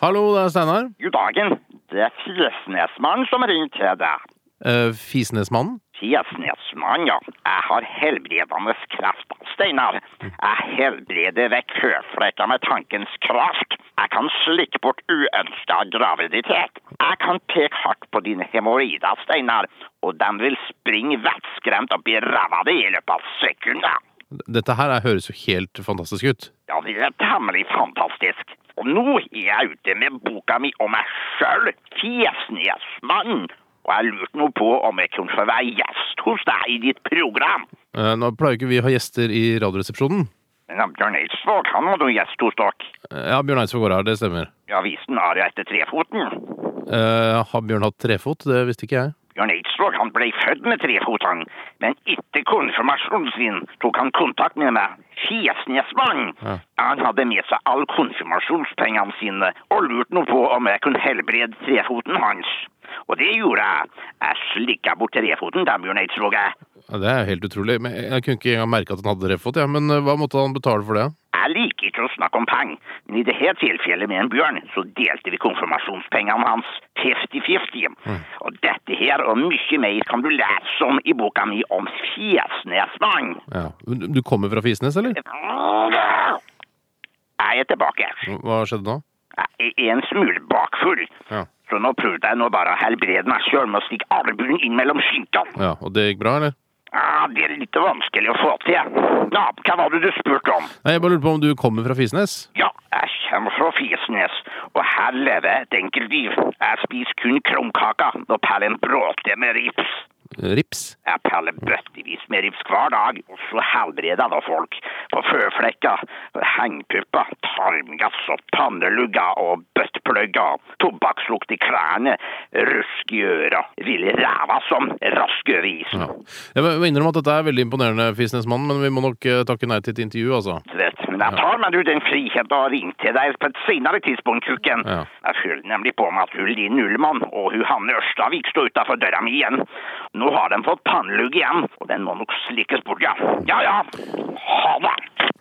Hallo, det er Steinar. God dagen. Det er Fjesnesmannen som ringer til deg. Eh, Fisnesmannen. Fjesnesmann, ja. Jeg har helbredende kraft, Steinar. Jeg helbreder vekk føflekker med tankens kraft. Jeg kan slikke bort uønska graviditet. Jeg kan peke hardt på dine hemoroider, Steinar, og de vil springe vettskremt opp i ræva di i løpet av sekunder. Dette her er, høres jo helt fantastisk ut. Ja, det er temmelig fantastisk. Og nå er jeg ute med boka mi om meg sjøl, Fjesnesmannen. Og jeg lurte nå på om jeg kunne få være gjest hos deg i ditt program. Eh, nå pleier ikke vi å ha gjester i Radioresepsjonen. Men han Bjørn Eidsvåg, han var nå gjest hos dere. Eh, ja, Bjørn Eidsvåg går her, det stemmer. I avisen har jeg etter trefoten. Eh, har Bjørn hatt trefot? Det visste ikke jeg. Bjørn Eidsvåg, han ble født med trefot, han. Men etter konfirmasjonen sin tok han kontakt med meg, Fjesnesmannen. Ja. Han hadde med seg all konfirmasjonspengene sine, og lurte nå på om jeg kunne helbrede trefoten hans. Og det gjorde jeg. Jeg slikka bort trefoten til Bjørn Eidsvåg. jeg. Ja, Det er jo helt utrolig. Men jeg jeg kunne ikke engang merke at han hadde trefot. Ja. Men eh, hva måtte han betale for det? Jeg liker ikke å snakke om penger, men i dette tilfellet med en bjørn, så delte vi konfirmasjonspengene hans 50-50. Og dette her og mye mer kan du lese om i boka mi om Fjesnesmann. Ja. Men Du kommer fra Fisnes, eller? Jeg er tilbake. Hva skjedde nå? Jeg er en smule bakfull. Ja. Så nå prøvde jeg nå bare å helbrede meg sjøl med å stikke albuen inn mellom skinkene. ja. Og det gikk bra, eller? Ah, det er litt vanskelig å få til. Ja, hva var det du spurte om? Nei, Jeg bare lurte på om du kommer fra Fisnes? Ja, jeg kommer fra Fjesnes, og her lever jeg et enkelt liv. Jeg spiser kun krumkaker og peller en bråte med rips. Eh, Rips? Jeg peller bøttevis med rips hver dag, og så helbreder jeg da folk for føflekker, hengpupper, tarmgass og pannelugger og bøttplugger, tobakkslukt i klærne, rusk i øra, ville ræva som rask over isen. Ja. Jeg må må innrømme at dette er veldig imponerende, Fisnesmannen, men vi må nok eh, takke nei til et intervju, altså. vet. Men jeg tar meg du den friheten og ringer til deg på et senere tidspunkt, kukken. Ja. Jeg føler nemlig på meg at hun Linn Ullmann og hun Hanne Ørstavik står utenfor døra mi igjen. Nå har de fått pannelugg igjen, og den må nok slikkes bort, ja. Ja, ja. Ha det.